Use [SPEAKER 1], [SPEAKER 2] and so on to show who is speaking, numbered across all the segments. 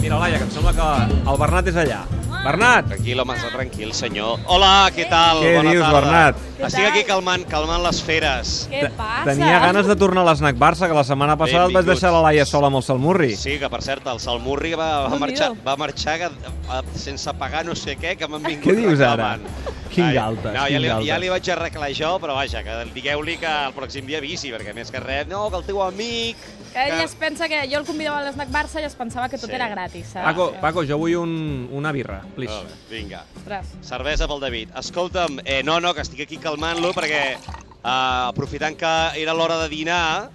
[SPEAKER 1] Mira, Laia, que em sembla que el Bernat és allà. Bernat!
[SPEAKER 2] Tranquil, home, està tranquil, senyor. Hola, què tal?
[SPEAKER 1] Què
[SPEAKER 2] Bona
[SPEAKER 1] dius,
[SPEAKER 2] tarda.
[SPEAKER 1] Bernat?
[SPEAKER 2] Estic aquí calmant, calmant les feres.
[SPEAKER 3] Què passa?
[SPEAKER 1] Tenia ganes de tornar a l'esnac Barça, que la setmana passada et vaig
[SPEAKER 2] Benvinguts.
[SPEAKER 1] deixar la Laia sola amb el Salmurri.
[SPEAKER 2] Sí, que per cert, el Salmurri va, va
[SPEAKER 3] Déu-n'hi-do.
[SPEAKER 2] marxar, va marxar que, a, sense pagar no sé què, que m'han vingut
[SPEAKER 1] Què dius ara?
[SPEAKER 2] reclamant.
[SPEAKER 1] Quin
[SPEAKER 2] Ai,
[SPEAKER 1] galtes,
[SPEAKER 2] no, ja,
[SPEAKER 1] quin
[SPEAKER 2] li,
[SPEAKER 1] galtes.
[SPEAKER 2] ja li vaig arreglar jo, però vaja, que digueu-li que el pròxim dia bici, perquè més que res, no, que el teu amic...
[SPEAKER 3] Ell es pensa que jo el convidava a l'esnac Barça i es pensava que tot
[SPEAKER 2] Sí.
[SPEAKER 3] era gratis, saps?
[SPEAKER 1] Paco, Paco, jo vull un, una birra, please.
[SPEAKER 2] Oh, vinga,
[SPEAKER 3] Ostres.
[SPEAKER 2] cervesa pel David. Escolta'm, eh, no, no, que estic aquí calmant-lo perquè eh, aprofitant que era l'hora de dinar,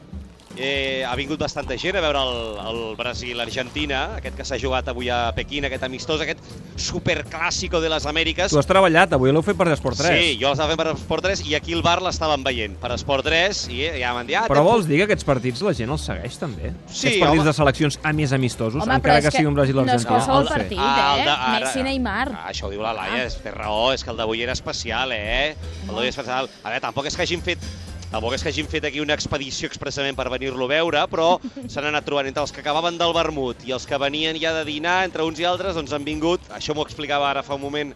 [SPEAKER 2] eh, ha vingut bastanta gent a veure el, el Brasil-Argentina, aquest que s'ha jugat avui a Pequín, aquest amistós, aquest superclàssico de les Amèriques.
[SPEAKER 1] Tu has treballat, avui l'heu fet per Esport 3.
[SPEAKER 2] Sí, jo l'estava fent per Esport 3 i aquí al bar l'estaven veient per Esport 3 i eh, ja m'han dit... Ah,
[SPEAKER 1] Però
[SPEAKER 2] tens-
[SPEAKER 1] vols dir que aquests partits la gent els segueix, també?
[SPEAKER 2] Sí,
[SPEAKER 1] aquests partits
[SPEAKER 2] home.
[SPEAKER 1] de seleccions a més amistosos,
[SPEAKER 3] Home, però
[SPEAKER 1] encara
[SPEAKER 3] és
[SPEAKER 1] que,
[SPEAKER 3] que
[SPEAKER 1] sigui un Brasil
[SPEAKER 3] no és
[SPEAKER 1] argentina
[SPEAKER 3] qualsevol
[SPEAKER 1] el sé.
[SPEAKER 3] partit. eh?
[SPEAKER 2] Ah, el
[SPEAKER 3] Messi, Neymar.
[SPEAKER 2] Ah, això ho diu la Laia, és, té raó, és que el d'avui era especial, eh? El d'avui era especial. A veure, tampoc és que hagin fet Tampoc és que hagin fet aquí una expedició expressament per venir-lo a veure, però s'han anat trobant entre els que acabaven del vermut i els que venien ja de dinar, entre uns i altres, doncs han vingut, això m'ho explicava ara fa un moment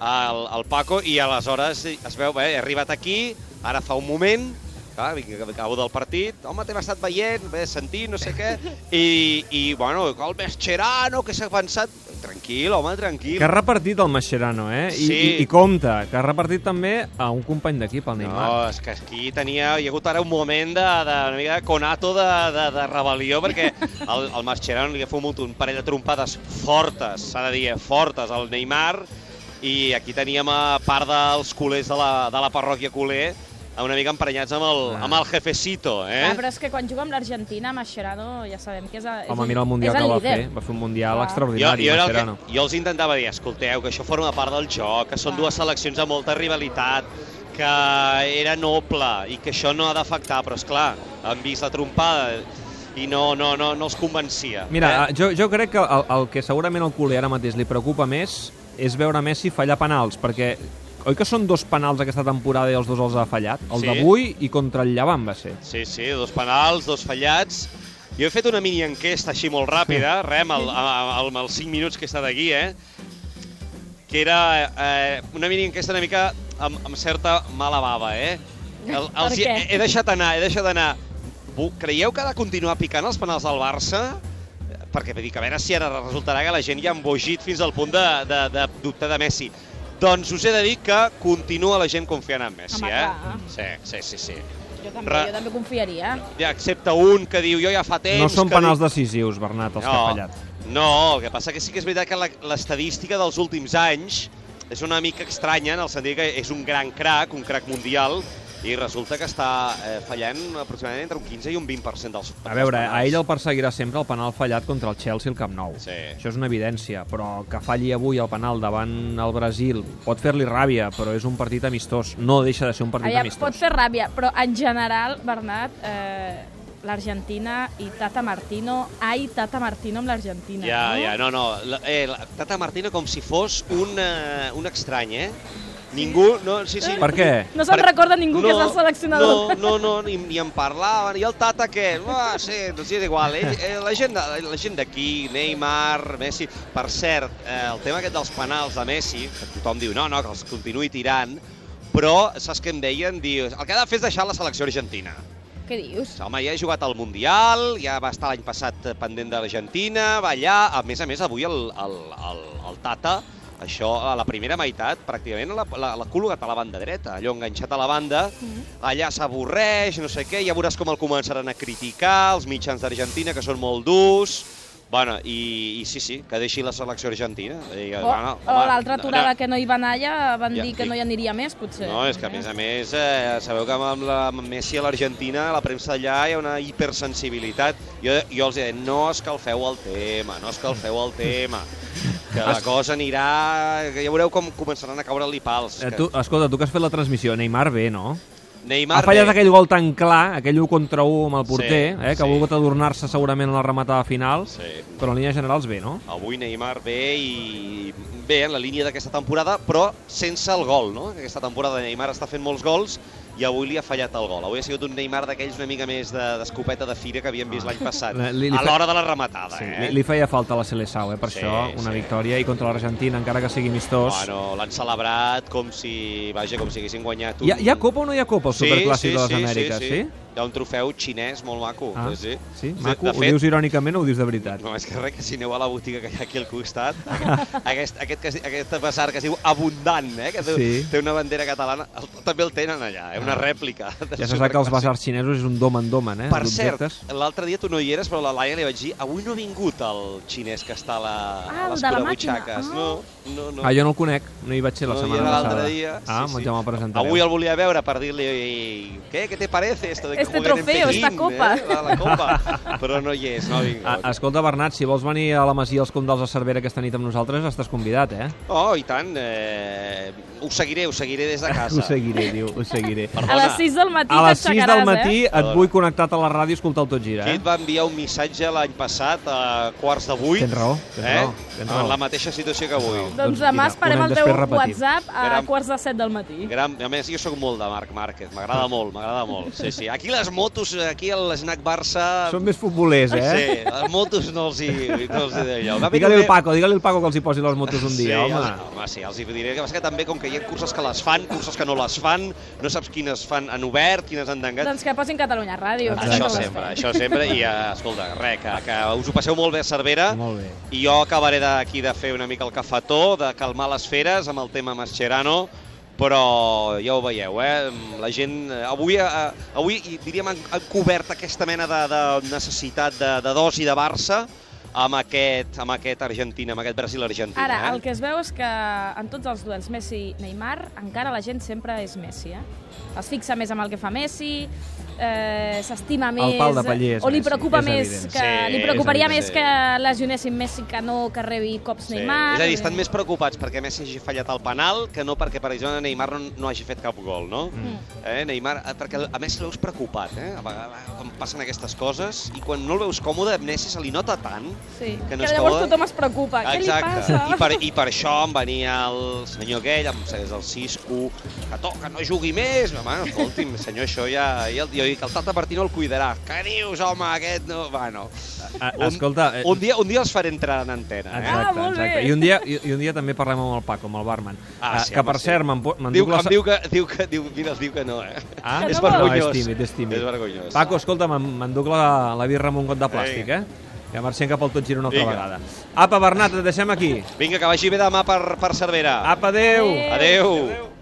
[SPEAKER 2] el, el Paco, i aleshores es veu, bé, he arribat aquí, ara fa un moment, clar, vinc, acabo del partit, home, t'hem estat veient, bé, sentint, no sé què, i, i bueno, el Mascherano, que s'ha pensat... Tranquil, home, tranquil.
[SPEAKER 1] Que ha repartit el Mascherano, eh? I,
[SPEAKER 2] Sí.
[SPEAKER 1] i, I compte, que ha repartit també a un company d'equip, el Neymar.
[SPEAKER 2] No, és que aquí tenia, hi ha hagut ara un moment de, de una mica de conato de, de, de rebel·lió, perquè el, el Mascherano li ha fumut un parell de trompades fortes, s'ha de dir, eh, fortes, al Neymar, i aquí teníem a part dels culers de la, de la parròquia culer, una mica emprenyats amb el,
[SPEAKER 1] Ah.
[SPEAKER 2] amb el jefecito, eh?
[SPEAKER 3] Ah, però és que quan juga amb l'Argentina, Mascherano, ja sabem que és, el- és
[SPEAKER 1] Home,
[SPEAKER 3] el-
[SPEAKER 1] mira el Mundial
[SPEAKER 3] és
[SPEAKER 1] que va
[SPEAKER 3] líder.
[SPEAKER 1] fer. Va fer un Mundial
[SPEAKER 3] Clar.
[SPEAKER 1] extraordinari,
[SPEAKER 2] era el
[SPEAKER 1] Mascherano.
[SPEAKER 2] Que, jo els intentava dir, escolteu, que això forma part del joc, que són dues seleccions de molta rivalitat, que era noble i que això no ha d'afectar, però és clar, han vist la trompada i no, no, no, no els convencia.
[SPEAKER 1] Mira,
[SPEAKER 2] eh?
[SPEAKER 1] jo, jo crec que el, el que segurament al culer ara mateix li preocupa més és veure Messi fallar penals, perquè oi que són dos penals aquesta temporada i els dos els ha fallat? El
[SPEAKER 2] Sí.
[SPEAKER 1] d'avui i contra el Llevant va ser.
[SPEAKER 2] Sí, sí, dos penals, dos fallats. Jo he fet una mini enquesta així molt ràpida, re, amb, el, amb, amb els 5 minuts que he estat aquí, eh? que era eh, una mini enquesta una mica amb, amb certa mala bava, eh? El,
[SPEAKER 3] Per
[SPEAKER 2] els hi-
[SPEAKER 3] què?
[SPEAKER 2] he, he deixat anar, he deixat anar. Vo- Creieu que ha de continuar picant els penals del Barça? Eh, Perquè vull dir que a veure si ara resultarà que la gent ja ha embogit fins al punt de, de, de dubtar de Messi. Doncs us he de dir que continua la gent confiant en Messi,
[SPEAKER 3] Home, clar.
[SPEAKER 2] eh? Sí, sí, sí, sí.
[SPEAKER 3] Jo també,
[SPEAKER 2] Ra-
[SPEAKER 3] jo també confiaria.
[SPEAKER 2] Ja, excepte un que diu, jo ja fa temps...
[SPEAKER 1] No són
[SPEAKER 2] que
[SPEAKER 1] penals
[SPEAKER 2] dic...
[SPEAKER 1] decisius, Bernat, els que ha fallat.
[SPEAKER 2] No, el que passa que sí que és veritat que la- l'estadística dels últims anys és una mica estranya, en el sentit que és un gran crac, un crac mundial, i resulta que està eh, fallant aproximadament entre un 15 i un 20% dels
[SPEAKER 1] A veure,
[SPEAKER 2] dels
[SPEAKER 1] a
[SPEAKER 2] penals.
[SPEAKER 1] ell el perseguirà sempre el penal fallat contra el Chelsea al Camp Nou.
[SPEAKER 2] Sí.
[SPEAKER 1] Això és una evidència, però que falli avui el penal davant el Brasil pot fer-li ràbia, però és un partit amistós. No deixa de ser un partit
[SPEAKER 3] Allà pot
[SPEAKER 1] amistós.
[SPEAKER 3] fer ràbia, però en general, Bernat, eh, l'Argentina i Tata Martino, ai, Tata Martino amb l'Argentina.
[SPEAKER 2] Ja,
[SPEAKER 3] no?
[SPEAKER 2] ja, no, no. La, eh, la, Tata Martino com si fos un, eh, un estrany, eh? Ningú... No, sí, sí.
[SPEAKER 1] Per què?
[SPEAKER 3] No se'n
[SPEAKER 2] Per-
[SPEAKER 3] recorda ningú que és el seleccionador.
[SPEAKER 2] No, no, no ni, ni en parlaven. I el Tata què? Va, sí, doncs és igual. Ell, eh, la gent de- la gent d'aquí, Neymar, Messi... Per cert, eh, el tema aquest dels penals de Messi, que tothom diu no, no, que els continuï tirant, però saps què em deien? Diu, el que ha de fer és deixar la selecció argentina.
[SPEAKER 3] Què dius?
[SPEAKER 2] Doncs Home, ja he jugat al Mundial, ja va estar l'any passat eh, pendent de l'Argentina, va allà... A més a més, avui el, el, el, el Tata, això a la primera meitat, pràcticament l'ha la, la col·locat a la banda dreta, allò enganxat a la banda,
[SPEAKER 3] Mm-hmm.
[SPEAKER 2] allà s'avorreix, no sé què, ja veuràs com el començaran a criticar, els mitjans d'Argentina, que són molt durs... Bueno, i, i sí, sí, que deixi la selecció argentina. I,
[SPEAKER 3] O,
[SPEAKER 2] bueno,
[SPEAKER 3] o
[SPEAKER 2] home,
[SPEAKER 3] l'altra aturada
[SPEAKER 2] no,
[SPEAKER 3] que no hi va anar allà, van
[SPEAKER 2] Ja,
[SPEAKER 3] dir que
[SPEAKER 2] i-
[SPEAKER 3] no hi aniria més, potser.
[SPEAKER 2] no, és que a més a més, eh, sabeu que amb, la, amb Messi a l'Argentina, la premsa allà hi ha una hipersensibilitat. Jo, jo els deia, no escalfeu el tema, no escalfeu el tema, que la cosa anirà... Que ja veureu com començaran a caure-li pals.
[SPEAKER 1] Eh,
[SPEAKER 2] que
[SPEAKER 1] tu, escolta, tu que has fet la transmissió, Neymar bé, no?
[SPEAKER 2] Neymar
[SPEAKER 1] Ha fallat
[SPEAKER 2] bé.
[SPEAKER 1] aquell gol tan clar, aquell 1 contra 1 amb el porter,
[SPEAKER 2] Sí,
[SPEAKER 1] eh, que
[SPEAKER 2] sí.
[SPEAKER 1] ha volgut adornar-se segurament a la rematada final,
[SPEAKER 2] Sí.
[SPEAKER 1] però en línies generals bé, no?
[SPEAKER 2] Avui Neymar ve i ve en la línia d'aquesta temporada, però sense el gol, no? Aquesta temporada Neymar està fent molts gols i avui li ha fallat el gol. Avui ha sigut un Neymar d'aquells una mica més de- d'escopeta de, fira que havíem vist l'any passat,
[SPEAKER 1] Ah. Li- li- li
[SPEAKER 2] a
[SPEAKER 1] fa-
[SPEAKER 2] l'hora de la rematada.
[SPEAKER 1] Sí,
[SPEAKER 2] eh?
[SPEAKER 1] li, li feia falta la Seleção, eh, per
[SPEAKER 2] Sí,
[SPEAKER 1] això, una
[SPEAKER 2] sí.
[SPEAKER 1] victòria, i contra l'Argentina, encara que sigui amistós.
[SPEAKER 2] Bueno, l'han celebrat com si, vaja, com si haguessin guanyat un...
[SPEAKER 1] hi, ha, hi ha Copa o no hi ha Copa al Superclàssic de les Amèriques, sí?
[SPEAKER 2] Hi ha un trofeu xinès molt maco.
[SPEAKER 1] Ah,
[SPEAKER 2] sí,
[SPEAKER 1] sí?
[SPEAKER 2] De-
[SPEAKER 1] Maco,
[SPEAKER 2] de
[SPEAKER 1] ho
[SPEAKER 2] fet,
[SPEAKER 1] dius irònicament o ho dius de veritat?
[SPEAKER 2] No, és que res, que si aneu a la botiga que hi ha aquí al costat, aquest, aquest, que es di- aquest bazar que es diu Abundant, eh, que té,
[SPEAKER 1] Sí.
[SPEAKER 2] té una bandera catalana, el, també el tenen allà, eh, una
[SPEAKER 1] Ah.
[SPEAKER 2] rèplica. del
[SPEAKER 1] Ja se sap que els
[SPEAKER 2] superclàssic.
[SPEAKER 1] basars xinesos és un domen-domen, eh?
[SPEAKER 2] Per cert,
[SPEAKER 1] d'objectes.
[SPEAKER 2] l'altre dia tu no hi eres, però a la Laia li vaig dir avui no ha vingut el xinès que està a, la,
[SPEAKER 3] Ah,
[SPEAKER 2] a
[SPEAKER 3] el
[SPEAKER 2] les
[SPEAKER 3] de la
[SPEAKER 2] curabutxaques.
[SPEAKER 3] màquina.
[SPEAKER 2] No, no, no.
[SPEAKER 1] Ah, jo no el conec, no hi vaig ser la
[SPEAKER 2] No hi
[SPEAKER 1] setmana
[SPEAKER 2] era l'altre
[SPEAKER 1] passada.
[SPEAKER 2] dia, sí,
[SPEAKER 1] ah,
[SPEAKER 2] sí.
[SPEAKER 1] ja me'l presentareu.
[SPEAKER 2] Avui el volia veure per dir-li què, què te parece esto de que
[SPEAKER 3] Este
[SPEAKER 2] juguen en
[SPEAKER 3] trofeo,
[SPEAKER 2] Pekín,
[SPEAKER 3] esta copa."
[SPEAKER 2] Eh? La, la copa. Però no hi és, no ha vingut.
[SPEAKER 1] Ah, escolta, Bernat, si vols venir a la Masia als Comdals de Cervera aquesta nit amb nosaltres, estàs convidat, eh?
[SPEAKER 2] Oh, i tant. Eh, ho seguiré, ho seguiré des de casa.
[SPEAKER 1] Ho seguiré, diu, ho seguiré.
[SPEAKER 3] A les 6 del matí
[SPEAKER 1] A les 6 del
[SPEAKER 3] t'aixecaràs,
[SPEAKER 1] matí
[SPEAKER 3] eh?
[SPEAKER 1] et vull connectat a la ràdio i escoltar el Tot Gira,
[SPEAKER 2] Qui
[SPEAKER 1] eh?
[SPEAKER 2] et va enviar un missatge l'any passat a quarts de vuit?
[SPEAKER 1] Tens raó, tens
[SPEAKER 2] eh?
[SPEAKER 1] raó, tens raó.
[SPEAKER 2] En la mateixa situació que avui.
[SPEAKER 1] Tens
[SPEAKER 3] Doncs
[SPEAKER 1] Doncs
[SPEAKER 3] demà
[SPEAKER 1] mira,
[SPEAKER 3] esperem
[SPEAKER 1] ho
[SPEAKER 3] el
[SPEAKER 1] anem
[SPEAKER 3] teu
[SPEAKER 1] després repetint.
[SPEAKER 3] WhatsApp a
[SPEAKER 2] Gran-
[SPEAKER 3] quarts de 7 del matí.
[SPEAKER 2] Gran, a més, jo sóc molt de Marc Márquez, m'agrada molt, m'agrada molt. Sí, sí. Aquí les motos, aquí a l'Snac Barça...
[SPEAKER 1] Són més futbolers, eh?
[SPEAKER 2] Sí, les motos no els hi, no els hi d'allò. Va
[SPEAKER 1] Digue-li al
[SPEAKER 2] haver-
[SPEAKER 1] Paco, digue-li al Paco que els hi posi les motos un dia,
[SPEAKER 2] sí,
[SPEAKER 1] home.
[SPEAKER 2] Els, home, sí, els hi diré. El que passa que també, com que hi ha curses que les fan, curses que no les fan, no saps quines fan en obert, quines han tancat...
[SPEAKER 3] Doncs que posin Catalunya Ràdio.
[SPEAKER 1] Exacte.
[SPEAKER 2] Això
[SPEAKER 3] no ho
[SPEAKER 2] sempre,
[SPEAKER 3] fem.
[SPEAKER 2] això sempre, i eh, escolta, res, que, que us ho passeu molt bé a Cervera,
[SPEAKER 1] Molt bé.
[SPEAKER 2] i jo acabaré d'aquí de fer una mica el cafetó, de calmar les feres amb el tema Mascherano, però ja ho veieu, eh? La gent eh, avui, eh, avui i diríem, han, han cobert aquesta mena de, de necessitat de, de dosi de Barça amb aquest, amb aquest Argentina, amb aquest Brasil-Argentina.
[SPEAKER 3] Ara,
[SPEAKER 2] eh?
[SPEAKER 3] el que es veu és que en tots els duels Messi-Neymar encara la gent sempre és Messi, eh? Es fixa més amb el que fa Messi, eh, s'estima més...
[SPEAKER 1] El pal de paller és
[SPEAKER 3] O li
[SPEAKER 1] Messi,
[SPEAKER 3] preocupa
[SPEAKER 1] és
[SPEAKER 3] més
[SPEAKER 1] evident.
[SPEAKER 3] que...
[SPEAKER 2] Sí,
[SPEAKER 3] li preocuparia
[SPEAKER 2] és
[SPEAKER 3] més
[SPEAKER 2] evident,
[SPEAKER 3] que lesionessin Messi que no que rebi cops
[SPEAKER 2] Sí.
[SPEAKER 3] Neymar. eh?
[SPEAKER 2] És a dir, estan més preocupats perquè Messi hagi fallat el penal que no perquè, per exemple, Neymar no, no hagi fet cap gol, no?
[SPEAKER 3] Mm.
[SPEAKER 2] Eh, Neymar, eh, perquè a Messi el veus preocupat, eh? A vegades, quan passen aquestes coses, i quan no el veus còmode, a Messi se li nota tant...
[SPEAKER 3] Sí.
[SPEAKER 2] Que
[SPEAKER 3] Que,
[SPEAKER 2] no
[SPEAKER 3] no
[SPEAKER 2] es
[SPEAKER 3] llavors
[SPEAKER 2] cou-
[SPEAKER 3] tothom es preocupa. Ah, Què li
[SPEAKER 2] I
[SPEAKER 3] passa?
[SPEAKER 2] per, I per això em venia el senyor aquell, em segueix el Cisco, que to, que no jugui més. Home, escolti'm, senyor, això ja... ja el, jo dic, el Tata Martino el cuidarà. Què dius, home, aquest no... Bueno,
[SPEAKER 1] A- Escolta, eh,
[SPEAKER 2] un dia, un dia els faré entrar en antena, eh?
[SPEAKER 1] Exacte,
[SPEAKER 3] Ah, molt bé.
[SPEAKER 1] exacte. I un, dia, i, I un dia també parlem amb el Paco, amb el barman.
[SPEAKER 2] Ah,
[SPEAKER 1] Eh,
[SPEAKER 2] sí,
[SPEAKER 1] que,
[SPEAKER 2] home,
[SPEAKER 1] per
[SPEAKER 2] sí.
[SPEAKER 1] cert, me'n po- me'n
[SPEAKER 2] Diu,
[SPEAKER 1] duc la...
[SPEAKER 2] em diu que, diu que, diu, mira, es diu que no, eh?
[SPEAKER 1] Ah,
[SPEAKER 3] Que
[SPEAKER 2] és
[SPEAKER 3] no vol.
[SPEAKER 2] vergonyós.
[SPEAKER 1] No, és tímid, és tímid.
[SPEAKER 2] És vergonyós.
[SPEAKER 1] Paco, escolta, me'n me'n duc la, la birra amb un got de plàstic, eh? Que marxem cap al Tot Gira una altra
[SPEAKER 2] Vinga.
[SPEAKER 1] vegada. Apa, Bernat, et deixem aquí.
[SPEAKER 2] Vinga, que vagi bé demà per, per Cervera.
[SPEAKER 1] Apa, adeu!
[SPEAKER 3] Adéu.
[SPEAKER 2] Adéu. Adéu.